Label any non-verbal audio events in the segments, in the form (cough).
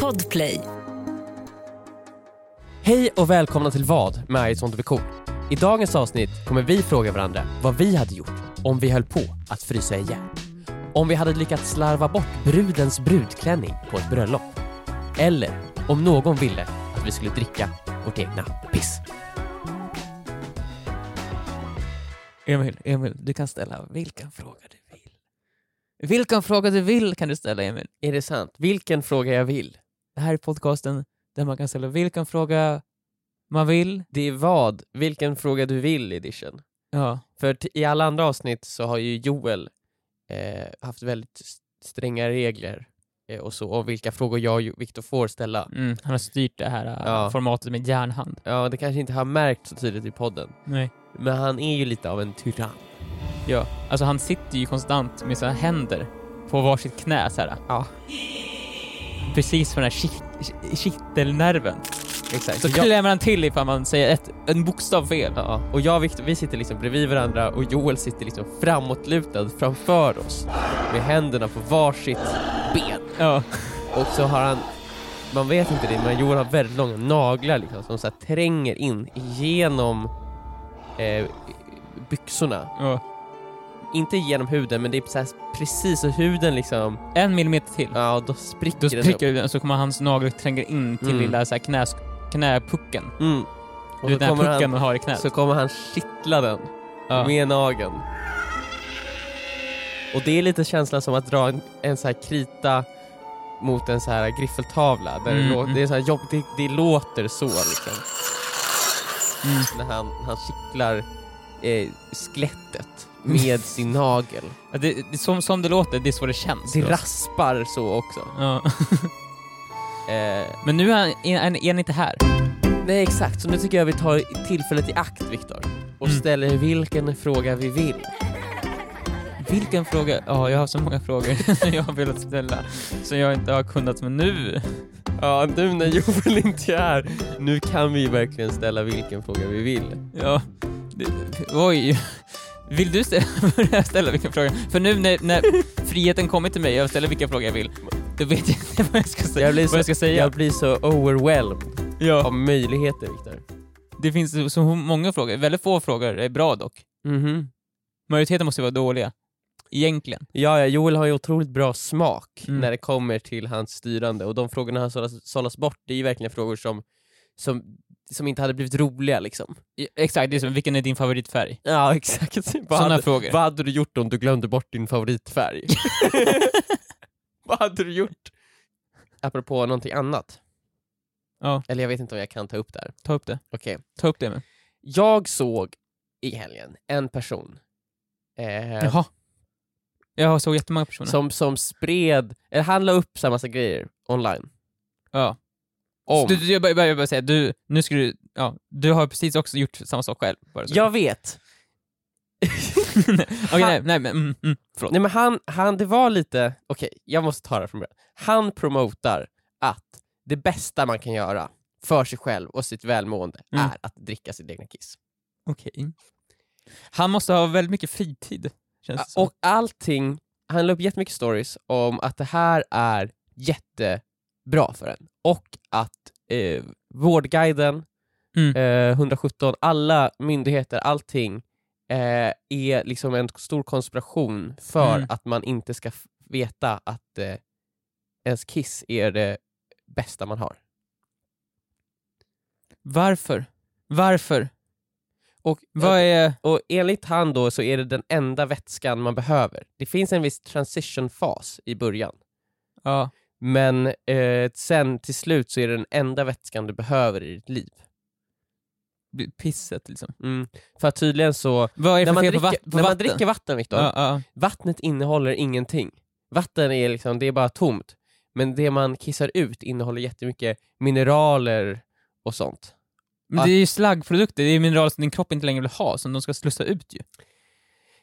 Podplay. Hej och välkomna till Vad med I sånt vi cool. I dagens avsnitt kommer vi fråga varandra vad vi hade gjort om vi höll på att frysa ihjäl. Om vi hade lyckats slarva bort brudens brudklänning på ett bröllop. Eller om någon ville att vi skulle dricka vårt egna piss. Emil, Emil, du kan ställa vilken fråga du vill. Vilken fråga du vill kan du ställa, Emil. Är det sant? Vilken fråga jag vill. Det här är podcasten där man kan ställa vilken fråga man vill. Det är vad, vilken fråga du vill edition. Ja, För t- i alla andra avsnitt så har ju Joel eh, haft väldigt s- stränga regler eh, och så om vilka frågor jag och Jo- Viktor får ställa. mm, han har styrt det här äh, Ja. formatet med järnhand. Ja, det kanske inte har märkt så tydligt i podden. Nej. Men han är ju lite av en tyrann. Ja, alltså han sitter ju konstant med sina händer på varsitt knä så här. Ja. Precis på den här kitt- kittelnerven. Exakt. Så Så jag, klämmer han till ifall man säger ett, en bokstav fel. ja, och jag och Viktor, vi sitter liksom bredvid varandra och Joel sitter liksom framåtlutad framför oss med händerna på varsitt ben. Ja. Och så har han, man vet inte det, men Joel har väldigt långa naglar liksom som så här tränger in genom eh, byxorna. ja. Inte genom huden, men det är så här precis så huden liksom, En millimeter till. ja då spricker Då den upp. spricker den så kommer hans nagel tränga in till Mm. lilla så här knäs, knäpucken. Mm. Du Och vet så den här kommer, pucken han, man har i knät. så kommer han kittla den ja. med nageln. Och det är lite känslan som att dra en, en så här krita mot en så här griffeltavla. Där Mm, det, lå- mm. det, är så här jobb, det, det låter så liksom. Mm. När han, han kittlar eh, skelettet med sin nagel. Ja, det, det, som, som det låter, det är så det känns. Det för oss. raspar så också. Ja. Eh, Men nu är han, är, han- är han inte här. nej exakt, så nu tycker jag vi tar tillfället i akt Viktor. Och Mm. ställer vilken fråga vi vill. Vilken fråga? Ja, jag har så många frågor (laughs) som jag har velat ställa som jag inte har kunnat. Men nu... Ja, nu när Joel inte är här, nu kan vi ju verkligen ställa vilken fråga vi vill. Ja. Det, oj. Vill du ställa, (laughs) börja ställa vilken fråga? För nu när, när friheten kommer till mig och jag ställer vilken fråga jag vill, då vet jag inte (laughs) vad jag ska säga. Jag blir vad jag så- ska säga. Jag blir så overwhelmed ja. av möjligheter, Viktor. Det finns så- så många frågor. Väldigt få frågor är bra dock. Mhm. Majoriteten måste ju vara dåliga. Egentligen. Ja, ja, Joel har ju otroligt bra smak Mm. när det kommer till hans styrande och de frågorna han sållas, sållas bort, det är ju verkligen frågor som, som, som inte hade blivit roliga liksom. I- Exakt, det är som vilken är din favoritfärg? Ja, exakt. (laughs) Vad Sådana hade, frågor. vad hade du gjort om du glömde bort din (laughs) favoritfärg? vad hade du gjort? Apropå någonting annat. Ja. Eller jag vet inte om jag kan ta upp det här. Ta upp det. Okej. Ta upp det Eh. med. Jag såg i helgen en person eh, Jaha. Jag såg jättemånga personer. som, som spred, eller han la upp så här massa grejer online. ja. Om. Du, du, jag bara, jag bara säga, du, nu ska du, ja, du har precis också gjort samma sak själv. Bara så. Jag vet. (laughs) Okej, nej, nej men, mm, mm, förlåt. Nej men han, han, det var lite, okej jag måste ta det här från början. Han promotar att det bästa man kan göra för sig själv och sitt välmående Mm. är att dricka sitt egna kiss. Okej. Han måste ha väldigt mycket fritid, känns det som. Ah, Och allting, han la upp jättemycket stories om att det här är jättebra för en. Och att eh, Vårdguiden, Mm. eh, 117, alla myndigheter, allting eh, är liksom en stor konspiration för Mm. att man inte ska f- veta att eh, ens kiss är det bästa man har. Varför? Varför? Och, Vad är... Eh, och enligt han då så är det den enda vätskan man behöver. Det finns en viss transition-fas i början. Ja. Men eh, sen till slut så är det den enda vätskan du behöver i ditt liv. Pisset liksom. Mm. För att tydligen så, Vad när är det för man, fel dricker, på vatt- på när man vatten? dricker vatten Viktor, ja, ja. vattnet innehåller ingenting. Vatten är liksom, det är bara tomt. Men det man kissar ut innehåller jättemycket mineraler och sånt. Men det är ju slaggprodukter, det är mineral som din kropp inte längre vill ha, som de ska slussa ut ju.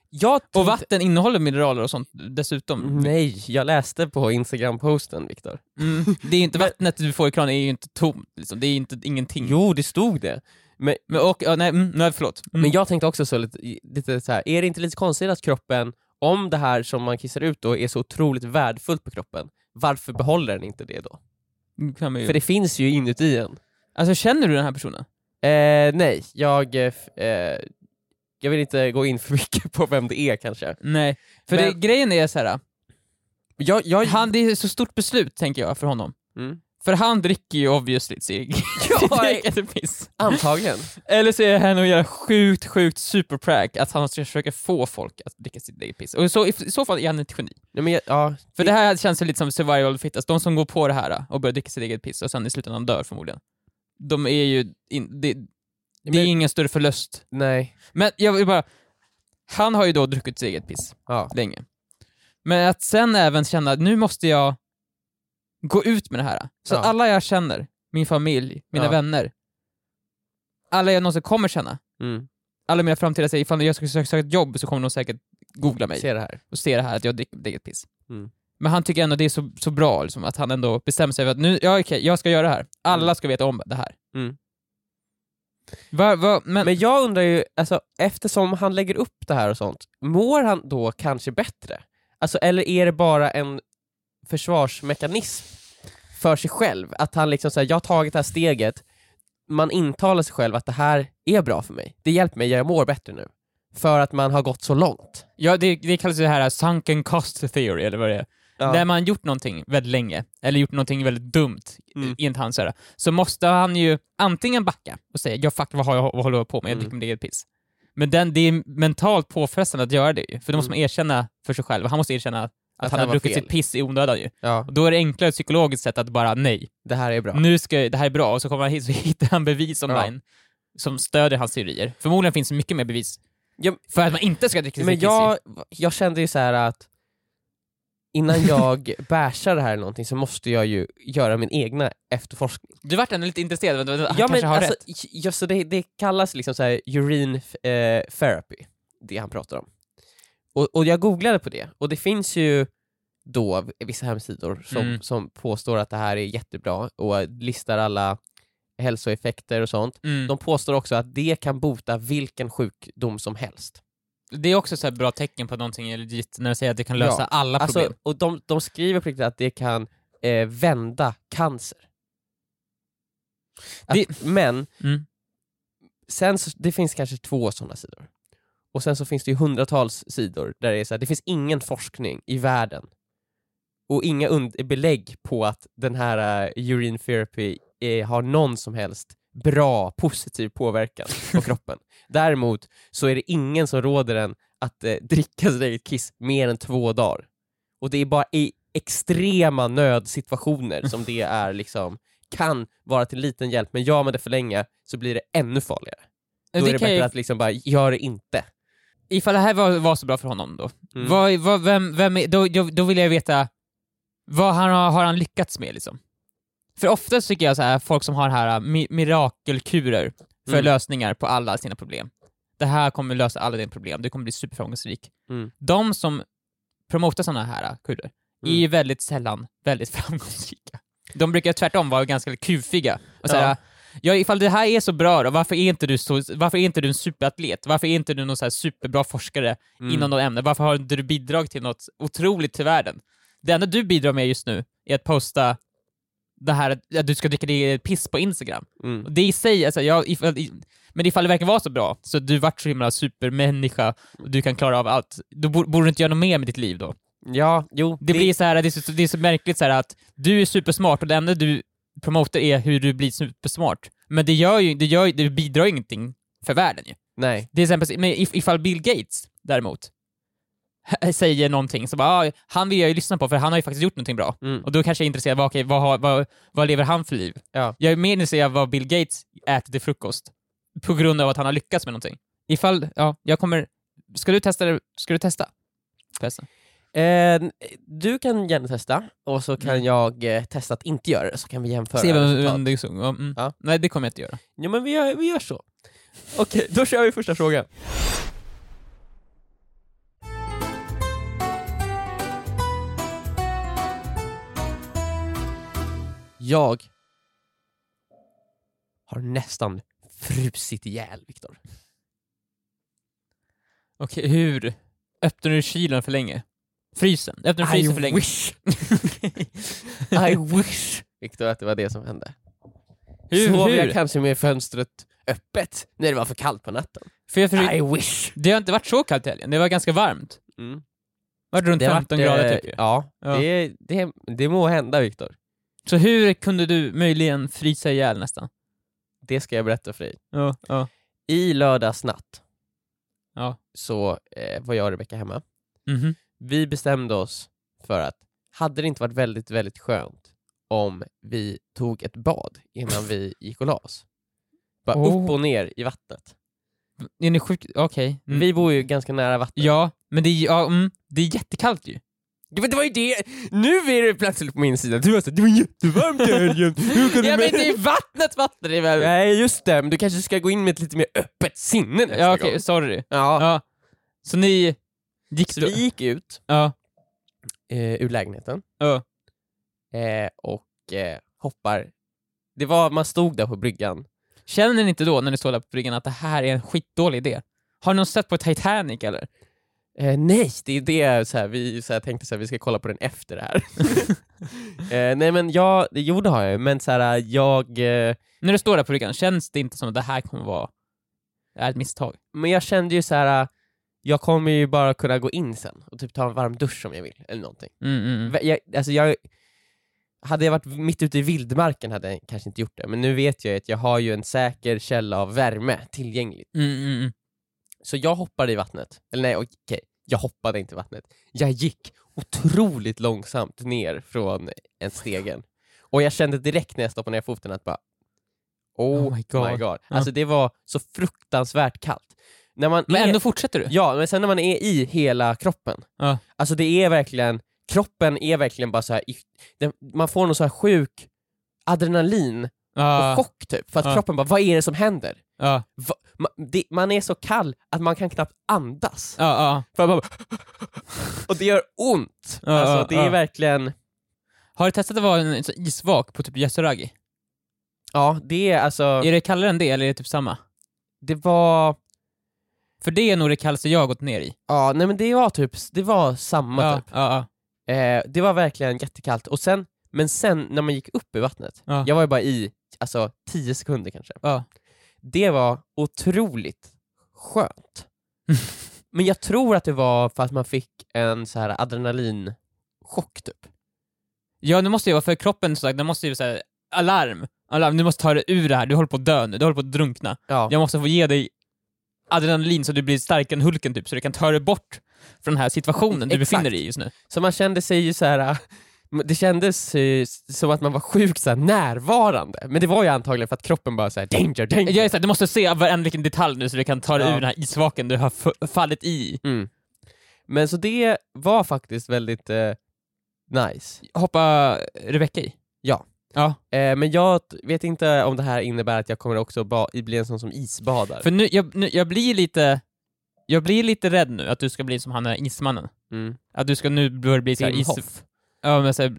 Jag Och vatten innehåller mineraler och sånt dessutom. Nej, jag läste på instagram-posten Viktor. Mm. Det är inte vattnet du får i kranen är ju inte tomt, liksom. det är inte ingenting. Jo, det stod det. Men, Men, och, ja, nej, mm, nej, förlåt. Mm. men jag tänkte också så lite, lite så här. är det inte lite konstigt att kroppen, om det här som man kissar ut då är så otroligt värdefullt på kroppen, varför behåller den inte det då? kan man ju... För det finns ju inuti en. Alltså känner du den här personen? Eh, nej, jag, eh, f- eh, jag vill inte gå in för mycket på vem det är kanske. Nej. För Men- det, grejen är så här. Jag, jag, han, det är ett så stort beslut tänker jag för honom. Mm. För han dricker ju obviously cigg. Ja, piss. (laughs) antagligen. Eller så är han och gör sjukt, sjukt superprank att han ska försöka få folk att dricka sitt eget piss. Och så, i så fall är han ett geni. Nej, men jag, ja, För det här känns ju lite som survival fitness, de som går på det här och börjar dricka sitt eget piss och sen i slutändan dör förmodligen. De är ju, in, det, det är men- ingen större förlust. nej. Men jag vill bara, han har ju då druckit sitt eget piss Ja. länge. Men att sen även känna, nu måste jag gå ut med det här. Så att Ja. alla jag känner, min familj, mina Ja. vänner, alla jag någonsin kommer känna, Mm. alla mina framtida säger ifall jag ska söka, söka ett jobb så kommer de säkert googla mig Se det här. och se det här att jag dricker mitt eget piss. Mm. Men han tycker ändå det är så, så bra liksom, att han ändå bestämmer sig för att nu, ja okej, jag ska göra det här. Alla ska veta om det här. Mm. Va, va, men, Men jag undrar ju, alltså, eftersom han lägger upp det här och sånt, mår han då kanske bättre? Alltså, eller är det bara en försvarsmekanism för sig själv? Att han liksom säger, jag har tagit det här steget, man intalar sig själv att det här är bra för mig. Det hjälper mig, jag mår bättre nu. För att man har gått så långt. ja, det, det kallas ju det här sunken cost theory, eller vad det är. Ja. Där man gjort någonting väldigt länge, eller gjort någonting väldigt dumt, Mm. mm. enligt han så, här, så måste han ju antingen backa och säga ja fuck vad, har jag, vad håller jag på med, jag dricker Mm. mitt eget piss. Men den, det är mentalt påfrestande att göra det ju, för då måste man erkänna för sig själv, han måste erkänna att, Mm. Att han han var har druckit fel. sitt piss i onödan ju. ja, Och då är det enklare psykologiskt sett att bara nej, det här är bra. nu ska det här är bra, och så kommer han hit så (laughs) hittar han bevis online som stödjer hans teorier. Förmodligen finns det mycket mer bevis Ja, för att man inte ska dricka Men sitt piss ju. jag, jag kände ju så här att innan (laughs) jag bashar det här eller någonting så måste jag ju göra min egna efterforskning. Du vart ändå lite intresserad, men han ja, kanske men har alltså, rätt. j- Ja, så det, det kallas liksom så här urine eh, therapy, det han pratar om. Och, och jag googlade på det, och det finns ju då vissa hemsidor som, Mm. som påstår att det här är jättebra och listar alla hälsoeffekter och sånt. Mm. De påstår också att det kan bota vilken sjukdom som helst. Det är också så här bra tecken på att någonting är legit, när de säger att det kan lösa Ja, alla Alltså, problem. och de, de skriver på riktigt att det kan eh, vända cancer. Att, Det- Men Mm. sen så, det finns kanske två sådana sidor. Och sen så finns det ju hundratals sidor där det är så här, det finns ingen forskning i världen och inga und- belägg på att den här eh, urine therapy eh, har någon som helst bra positiv påverkan (laughs) på kroppen. Däremot så är det ingen som råder en att eh, dricka sitt eget kiss mer än två dagar. Och det är bara i extrema nödsituationer som det är liksom kan vara till liten hjälp, men gör man det för länge så blir det ännu farligare. Då det är det kan bättre ju, att liksom bara, gör det inte. Ifall det här var, var så bra för honom då, Mm. vad, vad, vem, vem är, då, då, då vill jag veta vad han har, har han lyckats med liksom. För oftast tycker jag så här, folk som har här äh, mi- mirakelkurer för Mm. lösningar på alla sina problem. Det här kommer lösa alla dina problem, du kommer bli superframgångsrik. Mm. De som promotar sådana här äh, kurer är Mm. ju väldigt sällan väldigt (laughs) framgångsrika. De brukar tvärtom vara ganska kufiga och säga Ja. ja. ifall det här är så bra då, varför är inte du, så, varför är inte du en superatlet? Varför är inte du någon så här superbra forskare Mm. inom något ämne? Varför har inte du bidragit till något otroligt till världen? Det enda du bidrar med just nu är att posta det här att att du ska dricka dig piss på Instagram. Mm. Och Det i sig, alltså, jag, ifall, i, men ifall det verkar vara så bra, så du vart så himla supermänniska och du kan klara av allt, då bor- borde du inte göra något mer med ditt liv då. Ja, jo. Det, blir så här, det är så, det är så märkligt så här att du är supersmart och det enda du promotar är hur du blir supersmart. Men det, gör ju, det, gör, ju- det bidrar ju ingenting för världen ju. Nej. Till exempel, men if, ifall Bill Gates däremot (laughs) säger någonting så bara, ah, han vill jag ju lyssna på för han har ju faktiskt gjort någonting bra. Mm. Och då kanske jag är intresserad av, okej, vad, har- vad, vad lever han för liv? Ja. Jag är mer intresserad av vad Bill Gates äter till frukost på grund av att han har lyckats med någonting. Ifall, ja, jag kommer, ska du testa det? Ska du testa? Förresten. Eh, du kan gärna testa, och så kan Mm. jag eh, testa att inte göra det, så kan vi jämföra Se vem, resultat. vem det är som- ja, mm. Ja. Nej, det kommer jag inte göra. Ja men vi gör, vi gör så. Okej, då kör vi första frågan. Jag har nästan frusit ihjäl, Viktor. Okej, hur? Öppnar du kylen för länge? Frysen? Öppnar du frysen för länge? wish! (laughs) I wish! Viktor, att det var det som hände. Hur- Sov jag hur? kanske med fönstret öppet när det var för kallt på natten? För jag försökte, I wish! det har inte varit så kallt i helgen, det var ganska varmt. Mm. Det var runt har 15 varit, grader eh, typ. ju. Ja, Ja. Det, det, det må hända Viktor. Så hur kunde du möjligen frysa ihjäl nästan? Det ska jag berätta för dig. Ja, ja. I lördags natt Ja. så eh, var jag och Rebecka hemma. Mhm. Vi bestämde oss för att hade det inte varit väldigt, väldigt skönt om vi tog ett bad innan vi gick och la oss? Bara Oh. upp och ner i vattnet. Är ni sjukt? Okej. Mm. Vi bor ju ganska nära vatten. Ja, men det är, ja, mm, det är jättekallt ju. Ja, men det var ju det! Nu är det plötsligt på min sida. Du har sagt det var jättevarmt i helgen. Hur kan du Ja, men med-" det är vattnet vatten i världen. Nej just det, men du kanske ska gå in med ett lite mer öppet sinne nästa Ja, okej, gång. sorry. Ja. Ja. Så ni gick Så då? vi gick ut Ja. eh, ur lägenheten Ja. eh, och eh, hoppar. Det var, man stod där på bryggan. Känner ni inte då, när ni står där på bryggan, att det här är en skitdålig idé? Har ni någon sett på Titanic eller? Eh, nej, det är det så här, vi så här, tänkte så här, vi ska kolla på den efter det (laughs) här. eh, nej men jag, det- jo det har jag ju, men så här, jag, eh, När du står där på bryggan, känns det inte som att det här kommer vara det här är ett misstag? men jag kände ju så här. Jag kommer ju bara kunna gå in sen och typ ta en varm dusch om jag vill, eller någonting. Mm, mm, mm. Vä- Jag, alltså jag, hade jag varit mitt ute i vildmarken hade jag kanske inte gjort det, men nu vet jag ju att jag har ju en säker källa av värme tillgänglig. Mm, mm, mm. Så jag hoppade i vattnet. Eller nej, okej. Jag hoppade inte i vattnet. Jag gick otroligt långsamt ner från en stegen. Och jag kände direkt när jag stoppade ner foten att bara Oh, Oh my my god. God. Alltså det var så fruktansvärt kallt. När man Men är, ändå fortsätter du? Ja, men sen när man är i hela kroppen. Ja. Alltså det är verkligen, kroppen är verkligen bara så här, i- den, man får någon så här sjuk adrenalin Ja, och chock typ. För att Ja. kroppen bara, vad är det som händer? ja, Va, ma, det, man är så kall att man kan knappt andas. ja, ja. För man bara, och det gör ont. Ja, ja, alltså, det är ja. verkligen... Har du testat att vara en, en sån isvak på typ Yasuragi? Ja, det är alltså... Är det kallare än det, eller är det typ samma? Det var... För det är nog det kallaste jag har gått ner i. Ja, nej men det var typ, det var samma Ja, typ. ja, ja. Eh, det var verkligen jättekallt. Och sen, men sen när man gick upp i vattnet, Ja. jag var ju bara i alltså 10 sekunder kanske. Ja. Det var otroligt (laughs) skönt. men jag tror att det var för att man fick en så här adrenalinchock typ. Ja, det måste ju vara för kroppen, så sagt, det måste ju säga alarm, alarm, du måste ta dig ur det här, du håller på att dö nu, du håller på att drunkna. Ja. Jag måste få ge dig adrenalin så du blir starkare än Hulken typ, så du kan ta dig bort från den här situationen du Exakt. befinner dig i just nu. Så man kände sig ju så här. (laughs) det kändes eh, som att man var sjukt så här närvarande, men det var ju antagligen för att kroppen bara såhär danger, danger. Jag är så här, du måste se varenda liten detalj nu så du kan ta dig Ja. ur den här isvaken du har f- fallit i. Mm. Men så det var faktiskt väldigt eh, nice. Hoppa Rebecka i. Ja. Ja, Eh, men jag t- vet inte om det här innebär att jag kommer också ba- bli en sån som isbadar. för nu, jag, nu, jag blir lite, jag blir lite rädd nu att du ska bli som han den här ismannen. Mm. Att du ska nu börja bli så här Wim is... Hof. Ja, men så här,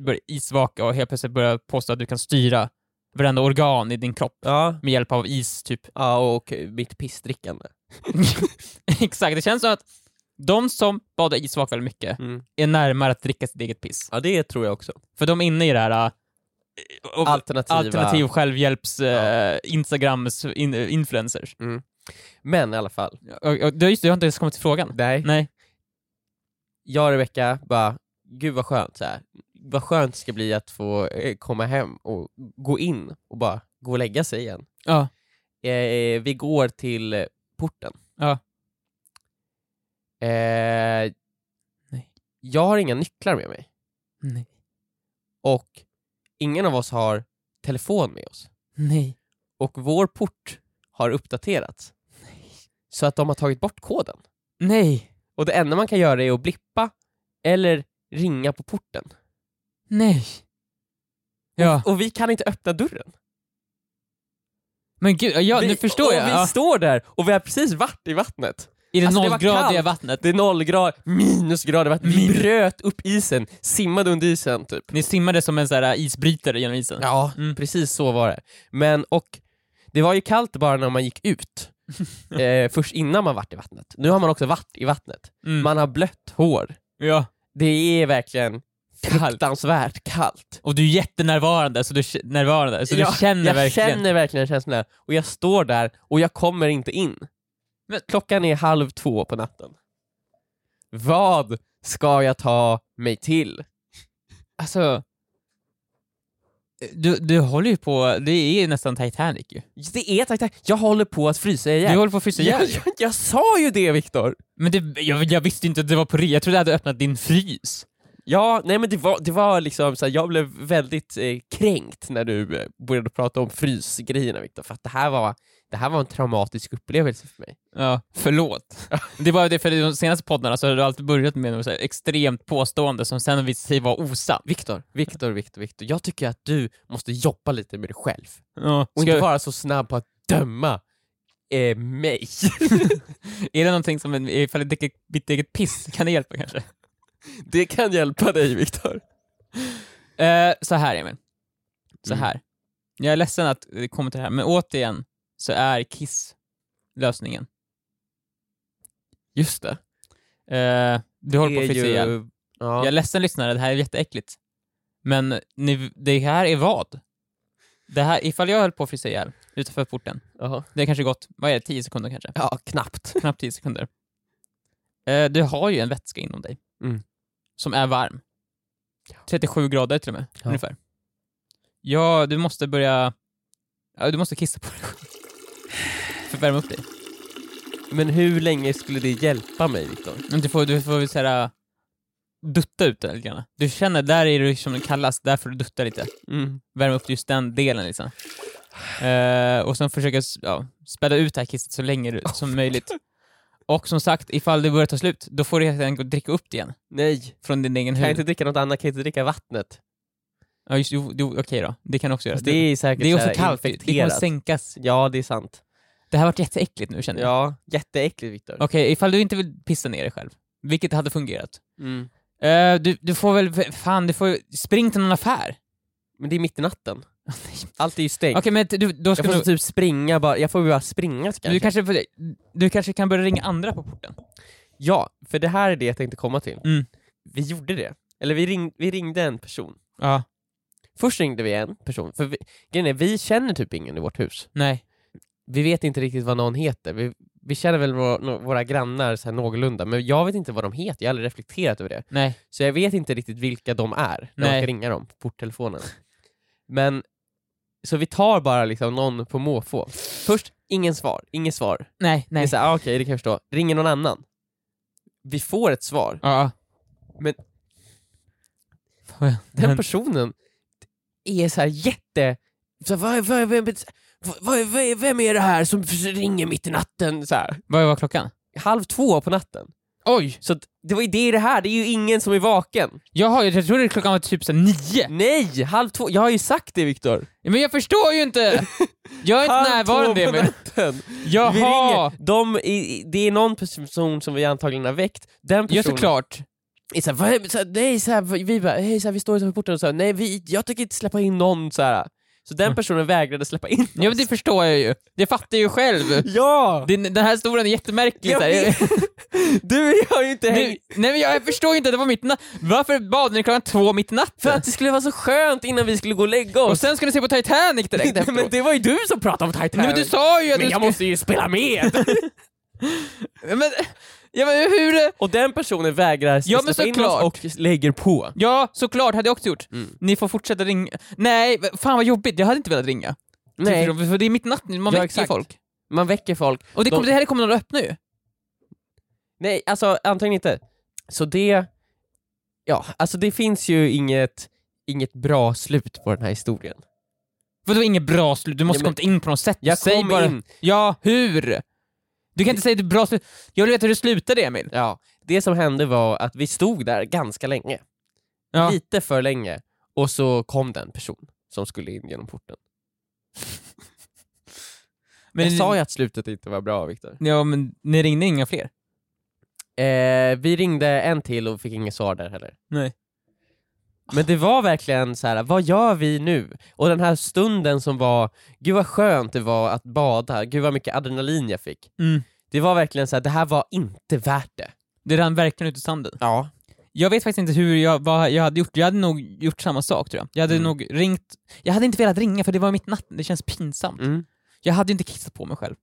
börja isvaka och helt plötsligt börja påstå att du kan styra varenda organ i din kropp Ja. med hjälp av is, typ. (laughs) ja, och mitt pissdrickande. Exakt, det känns som att de som badar isvak väldigt mycket Mm. är närmare att dricka sitt eget piss. Ja, det tror jag också. För de är inne i det här äh, och- Alternativa. alternativ självhjälps Ja. eh, Instagrams in, influencers. Men i alla fall. Och, och, du, just det, jag har inte ens kommit till frågan. Nej. Nej. Jag och Rebecka bara, gud vad skönt så här. Vad skönt det ska bli att få eh, komma hem och gå in och bara gå och lägga sig igen. Ja. Eh, vi går till eh, porten. Ja. Eh, Nej. Jag har inga nycklar med mig Nej. och ingen av oss har telefon med oss. Nej. Och vår port har uppdaterats. Så att de har tagit bort koden. Nej. Och det enda man kan göra är att blippa eller ringa på porten. Nej. Ja, Och vi kan inte öppna dörren. men gud, ja, vi, nu förstår och jag. Vi Ja. står där och vi har precis varit i vattnet. I det Alltså, det var nollgradiga kallt. vattnet. Det är nollgrader, minusgrader, vatten. vi Minus. bröt upp isen, simmade under isen typ. Ni simmade som en så här isbrytare genom isen. Ja, Mm. precis så var det. Men och det var ju kallt bara när man gick (laughs) ut. eh, först innan man varit i vattnet. Nu har man också varit i vattnet. Mm. Man har blött hår. ja. Det är verkligen kallt. fruktansvärt kallt. Och du är jättenärvarande, så du, k- närvarande, så Ja, du känner jag verkligen. Alltså, känner verkligen känslorna och jag står där och jag kommer inte in. Men- Klockan är halv två på natten. Vad ska jag ta mig till? Alltså, du, du håller ju på, det är ju nästan Titanic ju. Det är tack, tack. Jag håller på att frysa Du ihjäl. håller på att frysa ihjäl. jag, jag, jag sa ju det Viktor! Men det, jag, jag visste inte att det var på riktigt, jag trodde jag hade öppnat din frys. Ja, nej men det var, det var liksom så här, jag blev väldigt eh, kränkt när du eh, började prata om frysgrejerna Viktor, för att det här, var, det här var en traumatisk upplevelse för mig. Ja, förlåt. Det är bara det, för i de senaste poddarna så har du alltid börjat med något så här extremt påstående som sen visar sig vara osant. Viktor, Viktor, Viktor, Viktor, jag tycker att du måste jobba lite med dig själv Ja, och ska, inte vara så snabb på att döma eh, mig. (laughs) Är det någonting som, en- ifall det dricker mitt eget piss, kan det hjälpa kanske? det kan hjälpa dig Viktor. Eh, så här Emil. Så Mm. här. Jag är ledsen att det kommer till det här, men återigen så är Kiss lösningen. Just det. Eh, du håller på att frysa ihjäl. Jag Ja. är ledsen lyssnare, det här är jätteäckligt. Men ni, det här är vad? Det här, ifall jag höll på att frysa ihjäl utanför porten, Jaha. det är kanske gått, vad är det, 10 sekunder kanske? ja, knappt. Knappt 10 sekunder. Eh, du har ju en vätska inom dig. Mm. Som är varm. 37 grader till och med, Ja. ungefär. Ja, du måste börja... Ja, du måste kissa på dig själv. För att värma upp dig. Men hur länge skulle det hjälpa mig Viktor? Men Du får, du får väl såhär... Dutta ut det lite grann. Du känner, där är du som kallast, där får du dutta lite. Mm. Värma upp just den delen liksom. Eh, och sen försöka s- ja, späda ut det här kisset så (laughs) länge du, som möjligt. Och som sagt, ifall det börjar ta slut, då får du helt enkelt dricka upp det igen. Nej, Från din egen kan jag hud. inte dricka något annat? Kan jag inte dricka vattnet? Ja, just, jo, jo, okej då. Det kan du också göra. Fast det är det, säkert är så också här kallt. ju. Det kommer infekterat. sänkas. Ja, det är sant. Det här har varit jätteäckligt nu känner jag. Ja, jätteäckligt Viktor. Okej, ifall du inte vill pissa ner dig själv, vilket hade fungerat. Mm. Eh, du, du får väl, v- fan, du får ju- spring till (laughs) någon affär. Men det är mitt i natten. Okej, Allt är ju stängt. men t- du, då Jag ska får du, typ springa bara, jag får väl bara springa kanske. du, kanske, får- du kanske kan börja ringa andra på porten. Ja, för det här är det jag tänkte komma till. Mm. Vi gjorde det. Eller vi, ring, vi ringde en person. Ja. Först ringde vi en person, för vi, grejen är, vi känner typ ingen i vårt hus. Nej. Vi vet inte riktigt vad någon heter. Vi, vi känner väl våra, nå- våra grannar så här någorlunda, men jag vet inte vad de heter, jag har aldrig reflekterat över det. Nej. Så jag vet inte riktigt vilka de är när man Nej. ska ringa dem på porttelefonen. Men, så vi tar bara liksom någon på måfå. Först, ingen svar, inget svar. Nej, Det är nej. såhär, ah, okej det kan jag förstå. Ringer någon annan. Vi får ett svar. Ja. Men- Vad- Den men- personen är så här jätte... Så, vad, vad, vem, vad, vad, vad, vem är det här som ringer mitt i natten? Så här. Vad var klockan? Halv två på natten. Oj! Så att, det var ju det i det här, det är ju ingen som är vaken. Jaha, jag trodde klockan var typ så här nio. Nej, halv två. Jag har ju sagt det Viktor. Men jag förstår ju inte! Jag är Halv inte närvarande två på Emil. natten. Vi Jaha! ringer. De är, det är någon person som vi antagligen har väckt. Den Ja, personen såklart. är såhär, vad, så här, nej, så här, vi bara, hej, så här, vi står utanför porten och så här, nej, vi, jag tänker inte släppa in någon. Så här. Så den Mm. personen vägrade släppa in Ja, men oss. det förstår jag ju. Det fattar jag ju själv. Ja! Den, den här historien är jättemärklig. Jag så här. (laughs) vet. Du har ju inte Nu, hängt... nej men jag förstår ju inte, det var mitt i natt. Varför bad ni klockan två mitt i För natten? att det skulle vara så skönt innan vi skulle gå och lägga Och oss. sen ska ni se på Titanic (laughs) direkt efteråt. men det var ju du som pratade om Titanic. nej men du sa ju att Men du jag skulle- måste ju spela med! Men, ja men hur... (laughs) och den personen vägrar Ja, men släppa in oss såklart. och lägger på. Ja, såklart hade jag också gjort. Mm. Ni får fortsätta ringa. Nej, v- fan vad jobbigt. Jag hade inte velat ringa. Typ, Nej, För, för det är mitt i natten, man Ja, väcker exakt. folk. man väcker folk. Och det, kom, De- det här kommer någon att öppna ju. Nej, alltså antagligen inte. Så det... Ja, alltså det finns ju inget, inget bra slut på den här historien. Vadå inget bra slut? Du måste Ja, men- kommit in på något sätt. Jag Säg kom bara... in. Ja, hur? Du kan inte säga det bra slut. Jag vill veta hur det slutade Emil. Ja, det som hände var att vi stod där ganska länge. Ja. Lite för länge. Och så kom den person som skulle in genom porten. Men, jag sa ju att slutet inte var bra, Viktor. Ja, men ni ringde inga fler? Eh, vi ringde en till och fick inget svar där heller. Nej. Men det var verkligen så här: vad gör vi nu? Och den här stunden som var, gud vad skönt det var att bada, gud vad mycket adrenalin jag fick. Mm. Det var verkligen så här, det här var inte värt det. Det rann verkligen ut i sanden. Ja. Jag vet faktiskt inte hur jag, vad jag hade gjort. Jag hade nog gjort samma sak tror jag. Jag hade Mm. nog ringt... Jag hade inte velat ringa för det var mitt natt. Det känns pinsamt. Mm. Jag hade ju inte kissat på mig själv.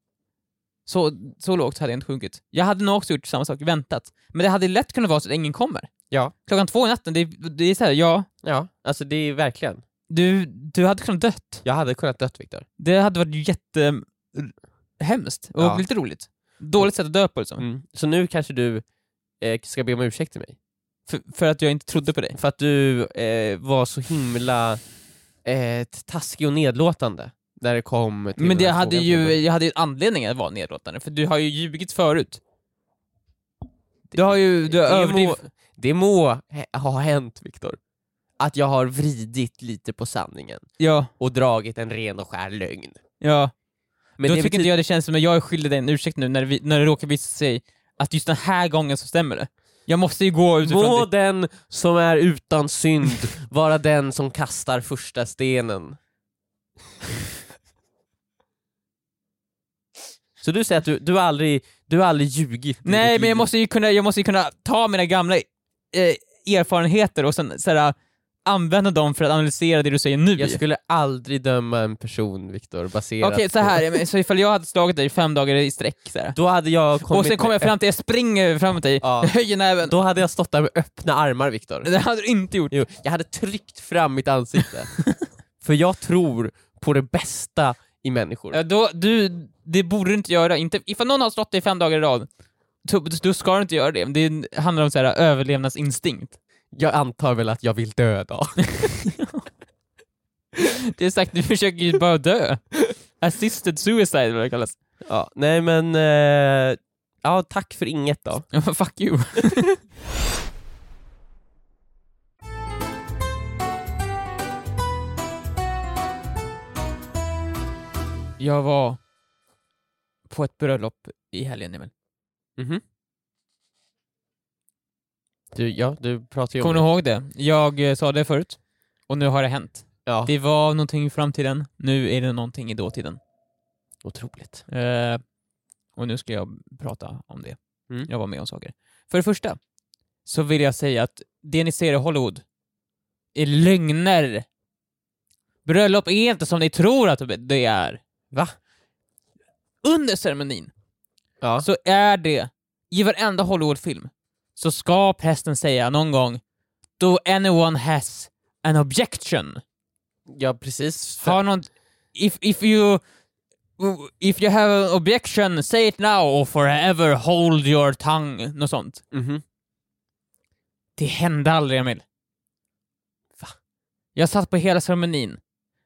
Så, så lågt hade jag inte sjunkit. Jag hade nog också gjort samma sak, väntat. Men det hade lätt kunnat vara så att ingen kommer. Ja. Klockan två i natten, det, det är såhär, ja, Ja, alltså det är verkligen. du, du hade kunnat dött. Jag hade kunnat dött Viktor. Det hade varit jättehemskt och Ja. lite roligt. Dåligt sätt att dö på liksom. Så nu kanske du eh, ska be om ursäkt till mig. För, för att jag inte trodde på dig. För att du eh, var så himla eh, taskig och nedlåtande när det kom till Men den det här hade frågan. ju, jag hade ju anledning att vara nedlåtande, för du har ju ljugit förut. Du har ju, du har det, må, överdrivit. det må hä- ha hänt Viktor, att jag har vridit lite på sanningen Ja, och dragit en ren och skär lögn. ja. Men Då det tycker betyder- inte jag det känns som att jag är skyldig dig en ursäkt nu när, vi, när det råkar visa sig att just den här gången så stämmer det. Jag måste ju gå utifrån Må det. den som är utan synd (laughs) vara den som kastar första stenen. Så du säger att du, du, har aldrig, du har aldrig ljugit? i Nej, ditt men liv? jag måste ju kunna, jag måste ju kunna ta mina gamla eh, erfarenheter och sen såhär, använda dem för att analysera det du säger nu. Jag skulle aldrig döma en person Viktor baserat Okej, så här, ja, men så ifall jag hade slagit dig fem dagar i sträck så här. på... Då hade jag kommit och sen kommer jag med- fram till jag springer fram till dig, Ja. jag (laughs) höjer näven. Då hade jag stått där med öppna armar Viktor. Det hade du inte gjort. Jo, jag hade tryckt fram mitt (laughs) ansikte. För jag tror på det bästa i människor. Ja, då, du, det borde du inte göra. Inte, ifall någon har slått dig fem dagar i rad, då, då ska du inte göra det. Det handlar om så här, överlevnadsinstinkt. Jag antar väl att jag vill dö (laughs) då. Det är sagt, du försöker ju bara dö. Assisted suicide, vad det kallas. (laughs) Ja, nej men... Eh, ja, tack för inget då. Ja, men Fuck you. (laughs) Jag var på ett bröllop i helgen, Emil. Mhm. Du, ja, du pratar ju om Kommer du det. ihåg det? Jag eh, sa det förut, och nu har det hänt. Ja. Det var någonting i framtiden, nu är det någonting i dåtiden. Otroligt. Eh, och nu ska jag prata om det. Mm. Jag var med om saker. För det första så vill jag säga att det ni ser i Hollywood är lögner. Bröllop är inte som ni tror att det är. Va? Under ceremonin Ja. så är det, i varenda Hollywoodfilm, så ska prästen säga någon gång Do anyone has an objection? ja, precis. För, Har någon... If, if you... If you have an objection, say it now or forever hold your tongue. Något sånt. Mhm. Det hände aldrig, Emil. Va? Jag satt på hela ceremonin.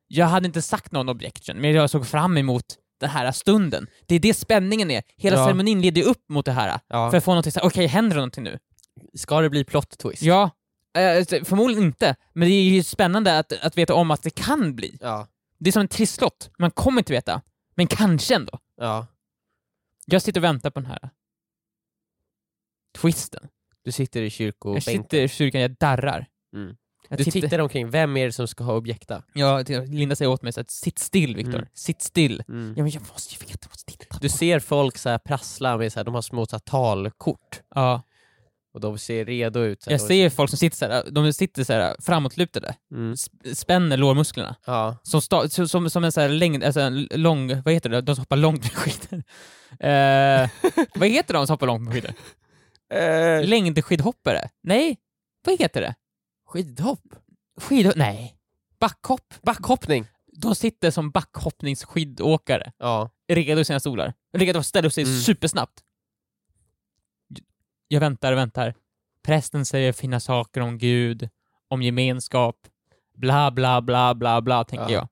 Jag hade inte sagt någon objection, men jag såg fram emot den här stunden. Det är det spänningen är. Hela Ja. ceremonin leder ju upp mot det här. ja. För att få någonting såhär, okej, händer det någonting nu? Ska det bli plot twist? Ja. Eh, förmodligen inte, men det är ju spännande att, att veta om att det kan bli. Ja. Det är som en trisslott, man kommer inte veta. Men kanske ändå. ja. Jag sitter och väntar på den här twisten. Du sitter i kyrkobänken. jag sitter i kyrkan, jag darrar. Mm. Jag Du tittar omkring, vem är det som ska ha objekta? Ja, Linda säger åt mig så att sitt still Viktor, Mm. sitt still. Mm. Ja men jag måste ju veta, jag måste titta. Du ser folk så här prassla med så här, de har små så här, talkort ja, och de ser redo ut. Så här, de- jag ser folk som sitter så här, de sitter så här framåtlutade, Mm. sp- spänner lårmusklerna. Ja. Som, sta, som- som, som en så här längd, alltså en lång, vad heter det, de som hoppar långt med skidor. Eh, vad heter de som hoppar långt med skidor? Eh, Längdskidhoppare? Nej, vad heter det? Skidhopp? Skid... Nej. Backhopp? Backhoppning? De sitter som backhoppningsskidåkare, Ja. redo i sina stolar. Redo att ställa upp sig Mm. supersnabbt. Jag väntar och väntar. Prästen säger fina saker om Gud, om gemenskap, bla bla bla bla bla, tänker Ja. jag.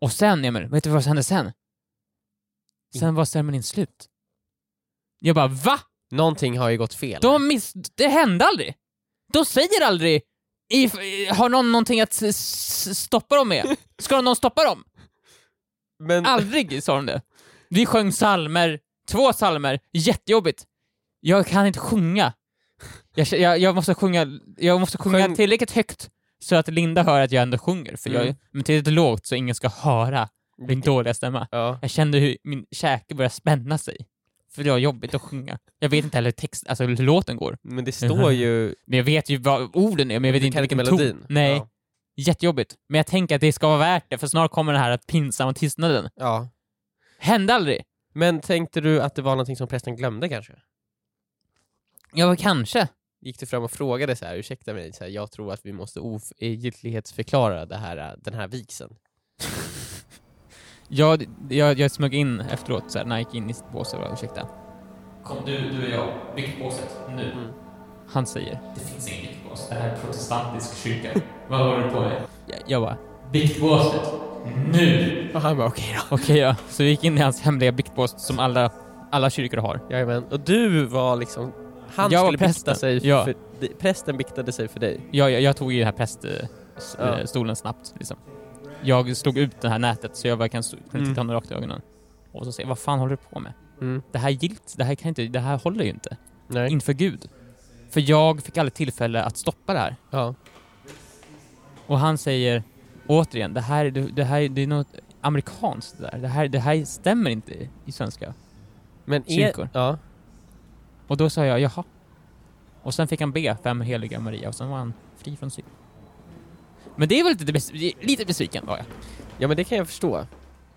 Och sen, Emil, vet du vad som hände sen? Sen Mm. var ceremonin slut. Jag bara VA? Någonting har ju gått fel. De miss... Det hände aldrig! De säger aldrig if... Har någon någonting att s- s- stoppa dem med? Ska någon stoppa dem? Men... Aldrig sa de det. Vi sjöng salmer, två salmer, jättejobbigt. Jag kan inte sjunga. Jag, k- jag, jag måste sjunga, jag måste sjunga Sjung- tillräckligt högt så att Linda hör att jag ändå sjunger, för jag, Mm. men tillräckligt lågt så ingen ska höra min dåliga stämma. Ja. Jag kände hur min käke började spänna sig. tyckte det var jobbigt att sjunga. Jag vet inte heller hur text, alltså hur låten går. Men det (laughs) står ju... Men jag vet ju vad orden är, men jag vet Du inte kan vilken melodin. ton. Nej. Ja. Jättejobbigt. Men jag tänker att det ska vara värt det, för snart kommer den här pinsamma tystnaden. ja. Hände aldrig! Men tänkte du att det var någonting som prästen glömde kanske? Ja, kanske. Gick du fram och frågade så här, ursäkta mig, så här, jag tror att vi måste ogiltighetsförklara det här, eh, den här vigseln. Jag, jag, jag smög in efteråt så här, när jag gick in i sitt bås och bara, ursäkta. Kom du, du och jag. Viktbåset, nu. Mm. Han säger. Det finns ingen viktbås. Det här är protestantisk (laughs) kyrka. Vad håller du på med? Jag, jag bara. Viktbåset, nu! Och han bara okej då. Okej ja, så vi gick in i hans hemliga viktbås som alla, alla kyrkor har. Jajamän. Och du var liksom... Han Jag var skulle bikta prästen. sig Ja. för... di- Prästen biktade sig för dig. Jag, jag, jag tog ju den här präst... eh, S- eh, stolen snabbt. Liksom. Jag slog ut det här nätet så jag verkligen s- kunde titta Mm. honom rakt i ögonen. Och så säger jag, vad fan håller du på med? Mm. Det här gilt, det här kan inte, det här håller ju inte. Nej. Inför Gud. För jag fick aldrig tillfälle att stoppa det här. Ja. Och han säger återigen, det här, det, det här det är något amerikanskt det där. Det här, det här stämmer inte i, i svenska. Men Kyrkor. är... Ja. Och då sa jag, jaha. Och sen fick han be fem heliga Maria och sen var han fri från synd. Men det var lite, bes- lite besviken var jag. ja, men det kan jag förstå.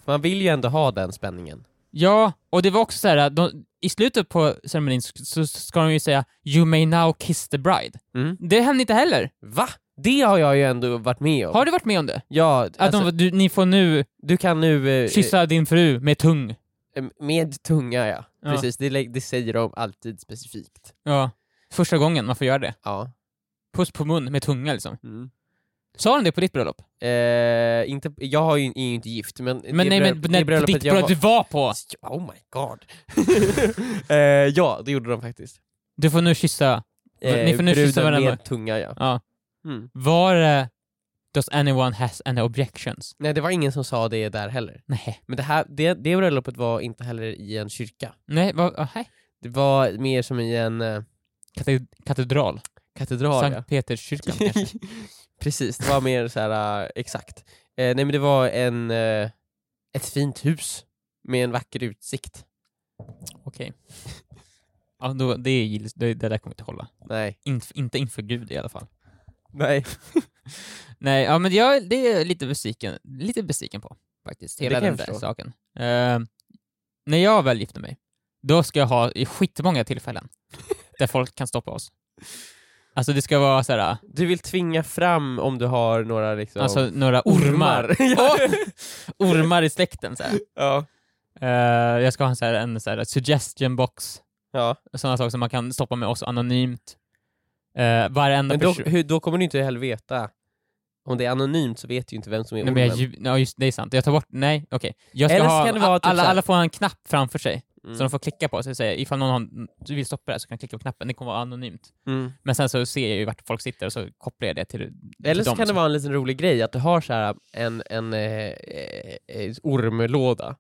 Man vill ju ändå ha den spänningen. Ja, och det var också så här, att de, i slutet på ceremonin så, så ska de ju säga “You may now kiss the bride”. Mm. Det hände inte heller. Va? Det har jag ju ändå varit med om. Har du varit med om det? Ja, Att alltså, de, du, ni får nu du kan nu... eh, kyssa din fru med tung. eh, Med tunga, ja. Ja. Precis, det, lä- det säger de alltid specifikt. Ja. Första gången man får göra det. Ja. Puss på mun med tunga liksom. Sa de det på ditt bröllop? Eh, inte, jag har ju, är ju inte gift, men... Men nej, men nej, på ditt bröllop du var på! var... Oh my god. (laughs) eh, ja, det gjorde de faktiskt. Du får nu kyssa. Ni får nu kyssa Eh, bruden varandra. med tunga, ja. Ja. Mm. Var det “Does anyone has any objections?” Nej, det var ingen som sa det där heller. Nej. Men det här, det, det bröllopet var inte heller i en kyrka. Nej, vad, ah, hej. Det var mer som i en eh, Kate- Katedral. katedral, ja. Sankt Peterskyrkan kanske. (laughs) Precis, det var mer så här eh, exakt. Eh, nej men det var en, eh, ett fint hus med en vacker utsikt. Okej. Ja, då, det, är, gill- det, det där kommer inte hålla. Nej. Inf, inte inför Gud i alla fall. Nej. Nej, ja, men jag, det är jag lite besviken, lite besviken på faktiskt. Det Hela kan jag den där förstå. saken. Eh, när jag väl gifter mig, då ska jag ha i skitmånga tillfällen (laughs) där folk kan stoppa oss. Alltså det ska vara såhär, Du vill tvinga fram om du har några liksom... alltså några (laughs) ormar. ja. ormar i släkten såhär. ja. Eh, jag ska ha en, såhär, en såhär, suggestion box, ja. sådana saker som man kan stoppa med oss anonymt. Uh, varenda Men då, person- hur, då kommer du inte heller veta. Om det är anonymt så vet du ju inte vem som är Nej, ormen. men jag, lju- ja, just, det är sant. Jag tar bort, nej okej. Jag ska Eller så ha, kan det vara a- typ alla, så här- alla får en knapp framför sig, Mm. så de får klicka på sig och säga ifall någon har, du vill stoppa det här så kan du klicka på knappen, det kommer vara anonymt. Mm. Men sen så ser jag ju vart folk sitter och så kopplar jag det till, till Eller så dem. kan det vara en liten rolig grej att du har så här en, en eh, eh, ormlåda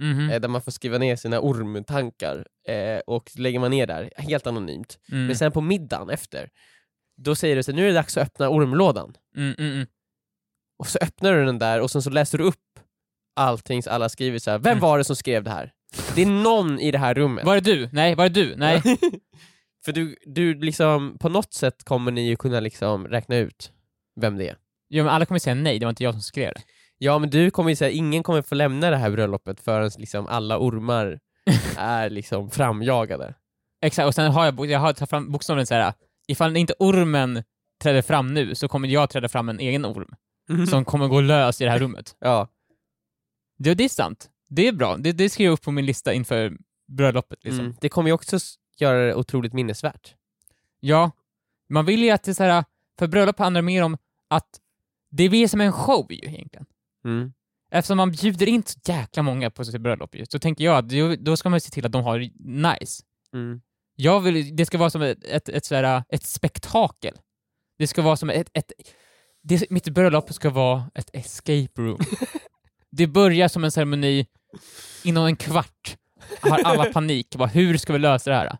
Mhm, eh, där man får skriva ner sina ormtankar eh, och lägger man ner där helt anonymt. mm, Men sen på middagen efter, då säger du så här, nu är det dags att öppna ormlådan. mm, mm, mm. Och så öppnar du den där och sen så läser du upp allting så alla skriver så här. vem Mm. var det som skrev det här? Det är någon i det här rummet. Var det du? Nej, var det du? (laughs) Nej. För du, du liksom, på något sätt kommer ni ju kunna liksom räkna ut vem det är. Jo, men alla kommer säga nej, det var inte jag som skrev det. Ja men du kommer ju säga, ingen kommer få lämna det här bröllopet förrän liksom alla (laughs) ormar är liksom framjagade. Exakt, och sen har jag, bo- jag har tagit fram bokstavligen så här. ifall inte ormen träder fram nu så kommer jag träda fram en egen orm Mm. som kommer gå lös i det här rummet. Ja. Det, det är sant. Det är bra. Det, det skriver jag upp på min lista inför bröllopet. Liksom. Mm. Det kommer ju också s- göra det otroligt minnesvärt. Ja, man vill ju att det är så här, för bröllop handlar mer om att det blir som en show ju egentligen. Mm. Eftersom man bjuder in så jäkla många på sitt bröllop ju, så tänker jag att då- då ska man se till att de har det nice. Mm. Jag vill, det ska vara som ett, ett, ett, så här, ett spektakel. Det ska vara som ett... ett det, mitt bröllop ska vara ett escape room. det börjar som en ceremoni, inom en kvart har alla panik. Bara, hur ska vi lösa det här?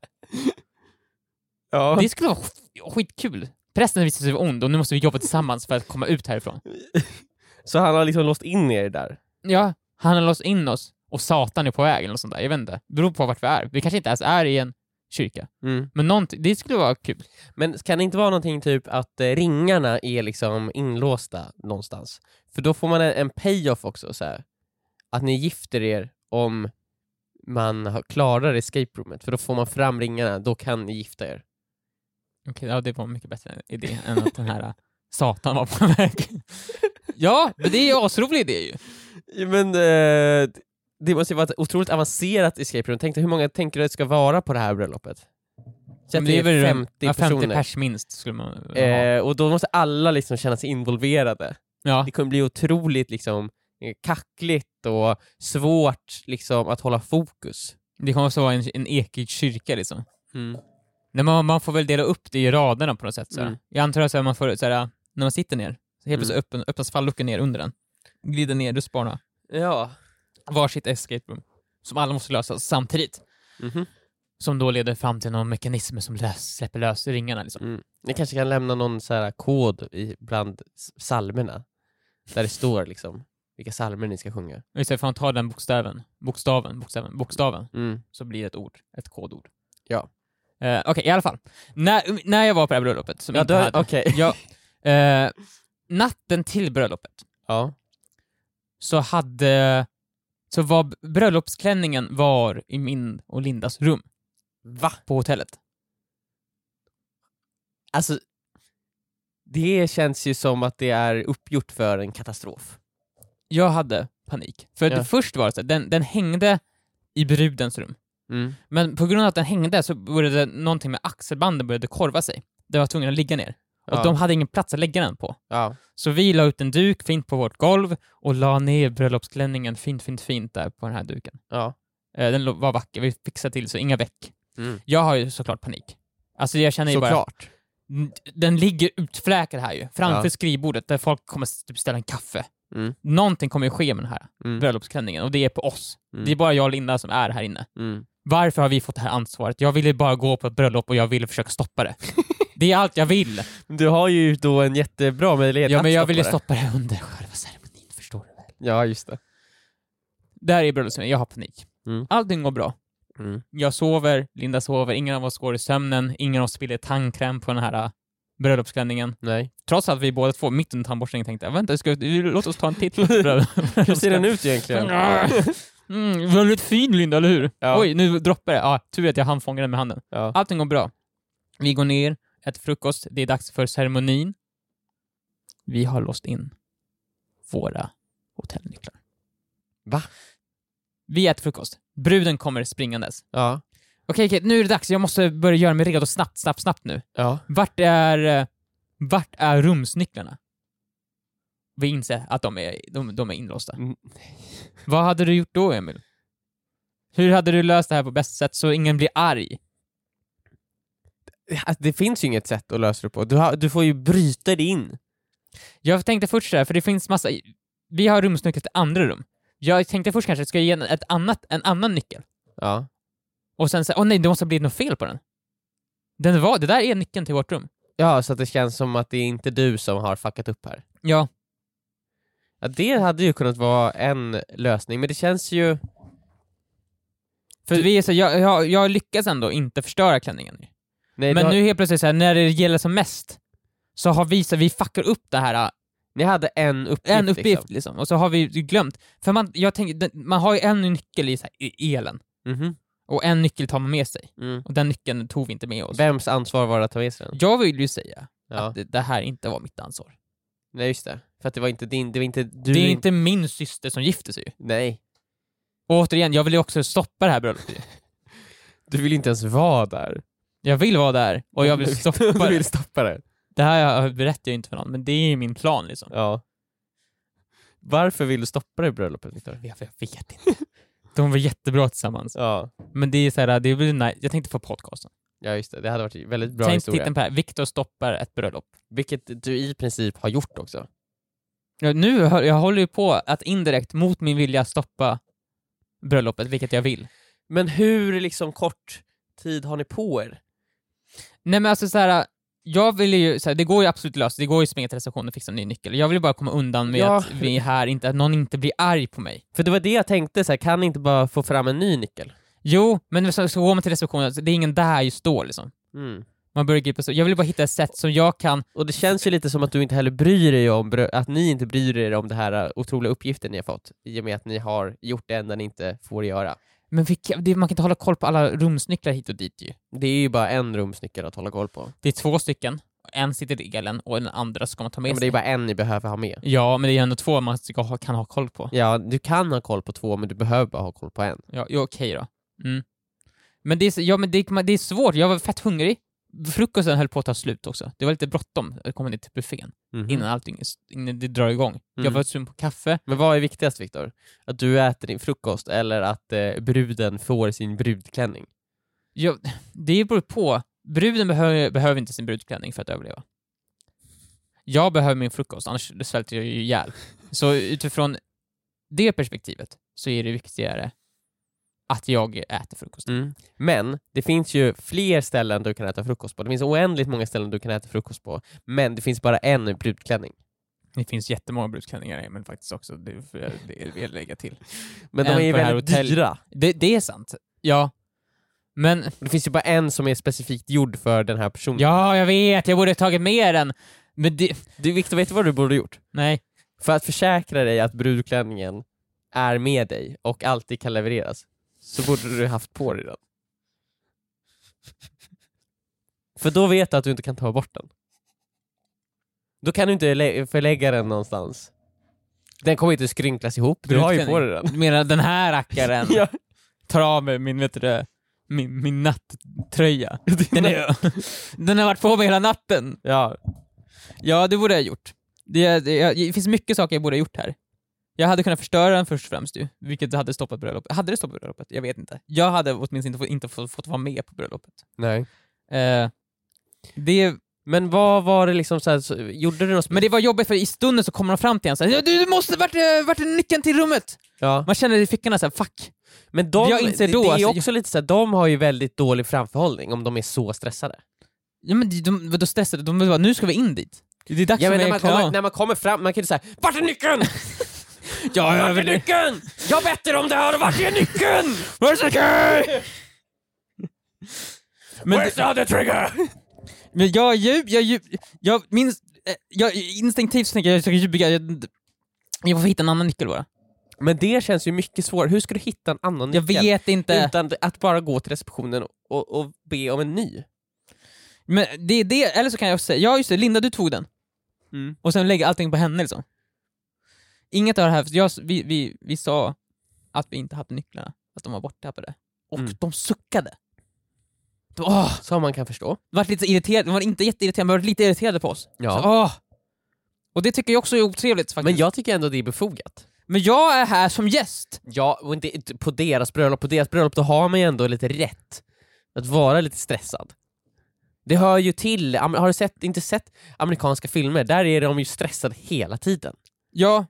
Ja. Det skulle vara sk- skitkul. Prästen visade sig vara ond och nu måste vi jobba tillsammans för att komma ut härifrån. Så han har liksom låst in er där? Ja, han har låst in oss och Satan är på väg eller något sånt där. Jag vet inte. Det beror på vart vi är. Vi kanske inte ens är i en kyrka. Mm. Men någonting, det skulle vara kul. Men kan det inte vara någonting typ att eh, ringarna är liksom inlåsta någonstans? För då får man en, en pay-off också, så här. att ni gifter er om man har, klarar escape roomet, för då får man fram ringarna, då kan ni gifta er. Okej, ja, det var en mycket bättre idé än att den här äh, Satan var på väg. (laughs) ja, men det är ju en asrolig idé ju. Ja, Men, eh, det måste ju vara ett otroligt avancerat escape room. Tänk dig, hur många tänker du att det ska vara på det här bröllopet? Så att det är 50 ja, 50 personer. pers minst skulle man ha. Eh, och då måste alla liksom känna sig involverade. ja. Det kommer bli otroligt liksom, eh, kackligt och svårt liksom, att hålla fokus. Det kommer också vara en, en ekig kyrka liksom. Nej, man, man får väl dela upp det i raderna på något sätt. Såhär. Mm. Jag antar att såhär, man får, såhär, när man sitter ner, så Mm. helt plötsligt öppen, öppnas falluckan ner under den. Glider ner, rutschbana. Ja. Varsitt escape room. Som alla måste lösa samtidigt. Mhm. Som då leder fram till någon mekanism som lös, släpper lös ringarna liksom. Ni kanske kan lämna någon så här kod i, bland s- psalmerna där det står liksom, vilka psalmer ni ska sjunga. Och Istället för att ta den bokstaven, bokstaven, bokstaven, bokstaven, Mm. så blir det ett ord, ett kodord. Ja. Eh, Okej, i alla fall. När, när jag var på det här bröllopet, som jag Ja, inte då- hade, Okej. (laughs) jag, eh, natten till bröllopet Ja. så hade, så var bröllopsklänningen var i min och Lindas rum Va? på hotellet. Alltså, det känns ju som att det är uppgjort för en katastrof. Jag hade panik. För Ja. det först var det så här, den, den hängde i brudens rum. Men på grund av att den hängde så började någonting med axelbanden började korva sig. Den var tvungen att ligga ner. Ja. Och de hade ingen plats att lägga den på. Ja. Så vi la ut en duk fint på vårt golv och la ner bröllopsklänningen fint, fint, fint där på den här duken. Ja. Eh, Den lo- var vacker, vi fixade till så inga veck. Mm. Jag har ju såklart panik. Alltså jag känner ju bara... Såklart. N- Den ligger utfläkad här ju, framför Ja. skrivbordet där folk kommer s- typ ställa en kaffe. Mm. Någonting kommer ju ske med den här Mm. bröllopsklänningen och det är på oss. Mm. Det är bara jag och Linda som är här inne. Mm. Varför har vi fått det här ansvaret? Jag ville bara gå på ett bröllop och jag ville försöka (laughs) stoppa det. Det är allt jag vill. Du har ju då en jättebra möjlighet Ja, att men jag ville det. stoppa det under själva ceremonin, förstår du väl? Ja, just det. Där är bröllopsceremonin, jag har panik. Mm. Allting går bra. Mm. Jag sover, Linda sover, ingen av oss går i sömnen, ingen av oss spiller tandkräm på den här äh, bröllopsklänningen. Nej. Trots att vi båda två mitt under tandborstningen tänkte vänta, ska, vi- låt oss ta (laughs) en titt på bröd." (laughs) Hur ser den ut (laughs) egentligen? mm, Väldigt fin Linda, eller hur? Ja. Oj, nu droppar det. Ja, tur att jag hann fånga den med handen. Ja. Allting går bra. Vi går ner, äter frukost, det är dags för ceremonin. Vi har låst in våra hotellnycklar. Va? Vi äter frukost. Bruden kommer springandes. Ja. Okej, okej, nu är det dags. Jag måste börja göra mig redo snabbt, snabbt, snabbt nu. Ja. Vart är, eh, vart är rumsnycklarna? Vi inser att de är, de, de är inlåsta. Mm. Vad hade du gjort då, Emil? Hur hade du löst det här på bästa sätt så ingen blir arg? Alltså, det finns ju inget sätt att lösa det på. Du, har, du får ju bryta dig in. Jag tänkte först såhär, för det finns massa... Vi har rumsnycklar till andra rum. Jag tänkte först kanske, ska jag ge en, ett annat, en annan nyckel? Ja. Och sen säga, åh nej, det måste ha blivit något fel på den. Den var, det där är nyckeln till vårt rum. Ja, så att det känns som att det är inte du som har fuckat upp här. Ja. Ja, det hade ju kunnat vara en lösning, men det känns ju... För vi är så, jag, jag, jag lyckas ändå inte förstöra klänningen. Nej, Men du har... nu helt plötsligt så här, när det gäller som mest så har vi så vi fuckar upp det här, äh, Ni hade en uppgift. en uppgift Liksom. liksom. och så har vi glömt. För man, jag tänker, den- man har ju en nyckel i, så här, i elen, Mhm. och en nyckel tar man med sig, Mm. och den nyckeln tog vi inte med oss. Vems ansvar var det att ta med sig den? Jag vill ju säga Ja. att det, det här inte var mitt ansvar. Nej, just det. För att det var inte din... Det var inte du... det är inte min syster som gifte sig ju. Nej. Och återigen, jag vill ju också stoppa det här bröllopet ju. Du vill inte ens vara där. Jag vill vara där, och jag vill (laughs) stoppa Du det. vill stoppa det. Det här berättar jag inte för någon, men det är ju min plan liksom. Ja. Varför vill du stoppa det bröllopet, Viktor? Jag, jag vet inte. De var jättebra tillsammans. Ja. Men det är så här, det blir nice. Jag tänkte på podcasten. ja, just det. Det hade varit en väldigt bra Tänk historia. titeln på det här, Viktor stoppar ett bröllop. Vilket du i princip har gjort också. Ja, nu hör, jag håller ju på att indirekt, mot min vilja, stoppa bröllopet, vilket jag vill. Men hur liksom kort tid har ni på er? Nej men alltså så här, jag vill ju, så här, det går ju absolut löst, det går ju att springa till receptionen och fixa en ny nyckel. Jag vill ju bara komma undan med Ja. att vi är här, inte, att någon inte blir arg på mig. För det var det jag tänkte, så här, kan ni inte bara få fram en ny nyckel? Jo, men så, så går man till receptionen, det är ingen där just då liksom. Mm. Man börjar gripa så. Jag vill bara hitta ett sätt som jag kan... Och det känns ju lite som att du inte heller bryr dig om, br- att ni inte bryr er om det här eh, otroliga uppgiften ni har fått, i och med att ni har gjort det enda ni inte får göra. Men vilka, det, man kan inte hålla koll på alla rumsnycklar hit och dit ju. Det är ju bara en rumsnyckel att hålla koll på. Det är två stycken, en sitter i elen och den andra ska man ta Ja, med men det sig. är bara en ni behöver ha med. Ja, men det är ändå två man ska ha, kan ha koll på. Ja, du kan ha koll på två, men du behöver bara ha koll på en. Ja, ja okej då. Mm. Men, det är, så- ja, men det, det är svårt, jag var fett hungrig. Frukosten höll på att ta slut också. Det var lite bråttom att komma ner till buffén Mhm. innan allting innan det drar igång. Jag Mm. var sugen på kaffe. Men vad är viktigast Viktor? Att du äter din frukost eller att eh, bruden får sin brudklänning? Jag, det beror på. Bruden behöver, behöver inte sin brudklänning för att överleva. Jag behöver min frukost, annars svälter jag ju ihjäl. Så utifrån det perspektivet så är det viktigare att jag äter frukost. Men det finns ju fler ställen du kan äta frukost på. Det finns oändligt många ställen du kan äta frukost på, men det finns bara en brudklänning. Det finns jättemånga brudklänningar men faktiskt också, det, det vill jag lägga till. Men de En är ju på det här väldigt hotellet. dyra. Det, det är sant. Ja. Men, Och det finns ju bara en som är specifikt gjord för den här personen. ja jag vet, jag borde ha tagit med den. Men det, Du Viktor, vet du vad du borde gjort? nej. För att försäkra dig att brudklänningen är med dig och alltid kan levereras, så borde du haft på dig den. För då vet du att du inte kan ta bort den. Då kan du inte lä- förlägga den någonstans. Den kommer inte skrynklas ihop, du har ju på dig den. Du menar den (laughs) här rackaren? Ja. tar av mig min, vet du det, min, min (laughs) nattröja. Den, är, den har varit på mig hela natten. Ja. Ja, det borde jag ha gjort. Det, det, jag, det finns mycket saker jag borde ha gjort här. Jag hade kunnat förstöra den först och främst ju, vilket hade stoppat bröllopet. Hade det stoppat bröllopet? Jag vet inte. Jag hade åtminstone inte, fått- inte fått, fått vara med på bröllopet. Nej. Eh, det, Men vad var det liksom, så här, så, gjorde du något men det var jobbigt för i stunden så kommer de fram till en såhär du, du måste, vart, är- vart är nyckeln till rummet? Ja. Man känner i fickorna såhär, fuck. Men de, Jag inser det, då, det är alltså, också lite så här, de har ju väldigt dålig framförhållning om de är så stressade. Ja men de, de, vadå stressade, de bara, nu ska vi in dit. Det är dags Ja, för men mig Alltså, när, man att klara kommer, av. när man kommer fram, man kan ju säga Vart är nyckeln? Ja, Vart är men det- nyckeln? Jag har bett er om det här och vart är nyckeln? Men, Where's the other trigger? men jag ljug, jag ljug, jag minns, eh, jag, instinktivt så tänker jag, jag ska ljuga, jag, jag får hitta en annan nyckel bara. Men det känns ju mycket svårare. Hur ska du hitta en annan Jag nyckel? vet inte. Utan att bara gå till receptionen och, och be om en ny. Men det är det, eller så kan jag också säga, ja just det, Linda du tog den. Mm. Och sen lägga allting på henne liksom. Inget av det här, för jag, vi, vi, vi sa att vi inte hade nycklarna, att de var borttappade. Och Mm. de suckade. De, åh, Som man kan förstå. de var lite irriterade, de var inte jätteirriterade, men de var lite irriterade på oss. Ja. Så, åh. Och det tycker jag också är otrevligt faktiskt. Men jag tycker ändå det är befogat. Men jag är här som gäst! Ja, och inte, inte på deras bröllop, på deras bröllop då har man ju ändå lite rätt att vara lite stressad. Det hör ju till, am- har du sett, inte sett amerikanska filmer? Där är de ju stressade hela tiden. Ja,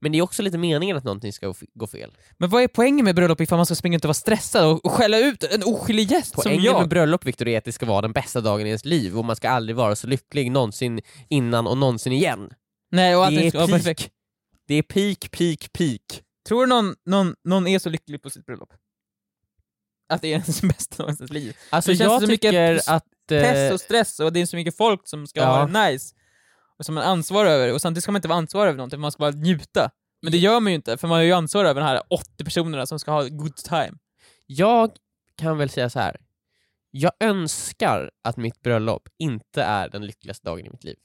Men det är också lite meningen att någonting ska f- gå fel. men vad är poängen med bröllop ifall man ska springa ut och vara stressad och, och skälla ut en oskyldig gäst Poängen som jag? med bröllop Victor är att det ska vara den bästa dagen i ens liv och man ska aldrig vara så lycklig någonsin innan och någonsin igen. Nej, och allt Det är ska vara peak. perfekt. Det är peak, peak, peak. Tror du någon, någon, någon är så lycklig på sitt bröllop? Att det är ens (laughs) bästa dag i ens liv? Alltså Det känns jag så mycket tycker press- att... eh, Press och stress och det är så mycket folk som ska Ja. ha det nice och som man ansvarar över och samtidigt ska man inte vara ansvarig över någonting, man ska bara njuta. Men det gör man ju inte, för man är ju ansvarig över de här 80 personerna som ska ha good time. Jag kan väl säga så här. Jag önskar att mitt bröllop inte är den lyckligaste dagen i mitt liv.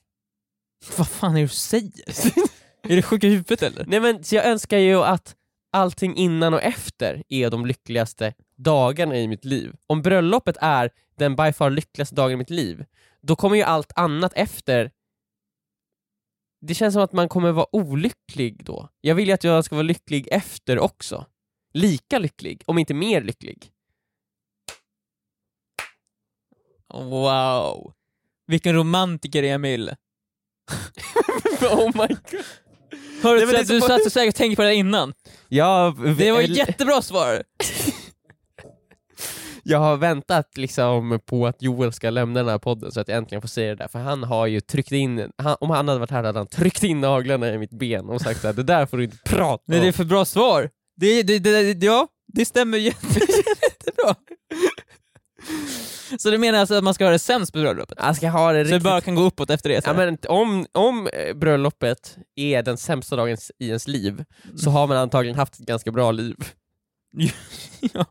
Vad fan är det du säger? (laughs) är du sjuk i huvudet eller? Nej men så jag önskar ju att allting innan och efter är de lyckligaste dagarna i mitt liv. Om bröllopet är den by far lyckligaste dagen i mitt liv, då kommer ju allt annat efter det känns som att man kommer vara olycklig då. Jag vill ju att jag ska vara lycklig efter också. Lika lycklig, om inte mer lycklig. Wow. Vilken romantiker Emil. (laughs) oh my god. Hör Nej, du, men det är du så- satt så säkert och tänkte på det här innan. Ja, Det var ett jättebra svar. Jag har väntat liksom på att Joel ska lämna den här podden så att jag äntligen får säga det där, för han har ju tryckt in, han, om han hade varit här hade han tryckt in naglarna i mitt ben och sagt såhär, det där får du inte prata Nej, det är om. för bra svar. Det, det, det, det, ja, det stämmer ju (laughs) jätte- jättebra. Så du menar alltså att man ska ha det sämst på bröllopet? Han ska ha det Så det riktigt... bara kan gå uppåt efter det? så Ja, här? men, om, om eh, bröllopet är den sämsta dagen s- i ens liv så har man antagligen haft ett ganska bra liv. ja,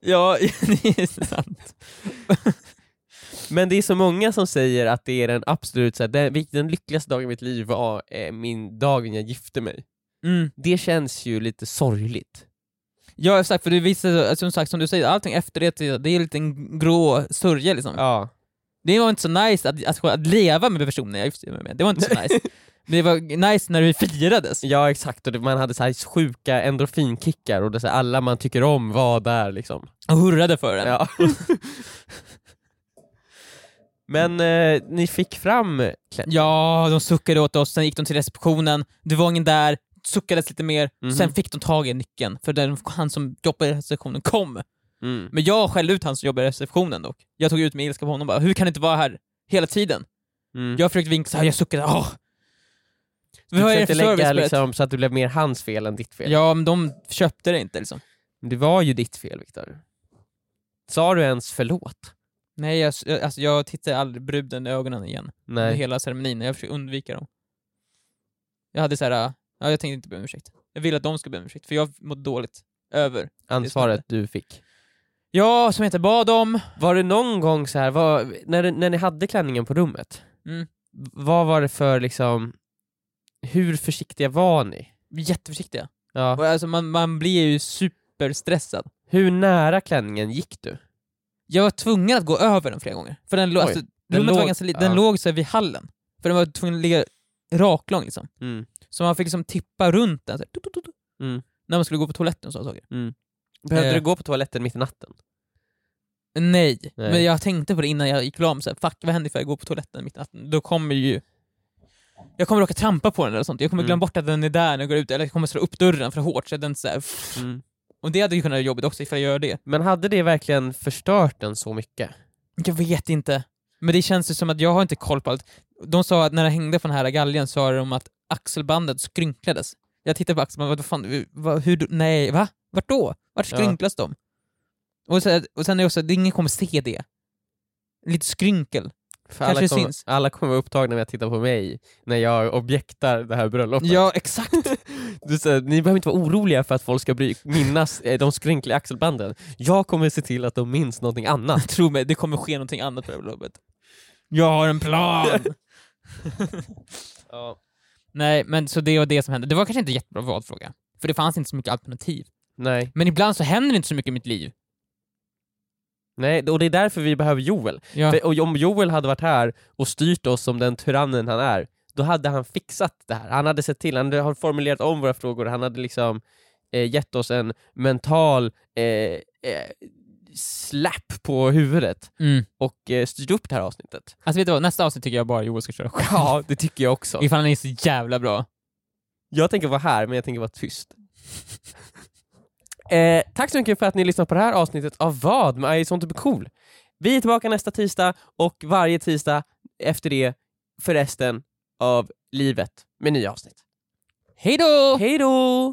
ja, (laughs) det är sant. Men det är så många som säger att det är den absolut så här, den, vilk- den lyckligaste dagen i mitt liv var eh, min dagen jag gifte mig. Mm. Det känns ju lite sorgligt. Ja exakt, för det visar, som sagt som du säger, allting efter det, det är en liten grå sörja liksom. Ja. Det var inte så nice att, att, att leva med personen jag gifte mig med, det var inte så (laughs) nice. Men det var nice när vi firades. Ja exakt, och det, man hade så här sjuka endorfinkickar och det, så här, alla man tycker om var där liksom. Och hurrade för den. Ja. Men eh, ni fick fram Klett. Ja, de suckade åt oss, sen gick de till receptionen, det var ingen där, suckades lite mer, Mhm. sen fick de tag i nyckeln, för den, han som jobbar i receptionen kom. Mm. Men jag skällde ut han som jobbar i receptionen dock. Jag tog ut min ilska på honom bara, hur kan det inte vara här hela tiden? Mm. Jag försökte vinka så här, jag suckade, åh! Du Vad är det försökte för service lägga på det? liksom, så att det blev mer hans fel än ditt fel. Ja, men de köpte det inte liksom. Men Det var ju ditt fel Viktor. Sa du ens förlåt? Nej, jag, jag- alltså, jag tittade aldrig bruden i ögonen igen under hela ceremonin. Jag försökte undvika dem. Jag hade så här, äh, ja, jag tänkte inte be om ursäkt. Jag ville att de skulle be om ursäkt, för jag mådde dåligt över. Ansvaret du fick. Ja, som jag inte bad om. Var det någon gång så här, var, när, du- när ni hade klänningen på rummet, Mm. vad var det för liksom, hur försiktiga var ni? Jätteförsiktiga. Ja. Och Alltså, man, man blir ju superstressad. Hur nära klänningen gick du? Jag var tvungen att gå över den flera gånger. För den, lå- Oj, alltså, rummet var låg- ganska li- ja. den låg så här vid hallen. För den var tvungen att ligga raklång liksom. Så man fick liksom tippa runt den så här, tut, tut, tut, Mm. när man skulle gå på toaletten och sådana saker. Behövde Eh. du gå på toaletten mitt i natten? Nej, Nej. men jag tänkte på det innan jag gick lam, så här, fuck vad händer ifall jag går på toaletten mitt i natten? Då kommer ju... Jag kommer råka trampa på den eller sånt, jag kommer Mm. glömma bort att den är där när jag går ut, eller jag kommer slå upp dörren för hårt så att den så här, Och det hade ju kunnat vara jobbigt också ifall jag gör det. Men hade det verkligen förstört den så mycket? Jag vet inte. Men det känns ju som att jag har inte koll på allt. De sa att när jag hängde från den här galgen sa de att axelbandet skrynklades. Jag tittade på axelbandet, vad fan, vad, hur, nej, va? Vart då? Vart Ja. skrynklas de? Och, så, och sen är det också, ingen kommer se det. Lite skrynkel. För Kanske alla, kommer, syns. alla kommer vara upptagna med att titta på mig när jag objektar det här bröllopet. Ja, exakt. (laughs) Du, säger, ni behöver inte vara oroliga för att folk ska bry, minnas eh, de skrynkliga axelbanden. Jag kommer se till att de minns någonting annat. Tro mig, det kommer ske någonting annat på det här bröllopet. Jag har en plan! (laughs) Nej, men så det var det som hände. Det var kanske inte jättebra valfråga. För det fanns inte så mycket alternativ. Nej. Men ibland så händer det inte så mycket i mitt liv. Nej, och det är därför vi behöver Joel. Ja. För, och om Joel hade varit här och styrt oss som den tyrannen han är, då hade han fixat det här. Han hade sett till, han hade formulerat om våra frågor, han hade liksom eh, gett oss en mental eh, eh, slapp på huvudet Mm. och eh, styrt upp det här avsnittet. Alltså vet du vad, nästa avsnitt tycker jag bara Joel ska köra själv. Ja, (laughs) det tycker jag också. Ifall han är så jävla bra. Jag tänker vara här, men jag tänker vara tyst. eh, tack så mycket för att ni lyssnade på det här avsnittet av Vad med I sånt typ cool. Vi är tillbaka nästa tisdag och varje tisdag efter det för resten av livet med nya avsnitt. Hej då! Hej då!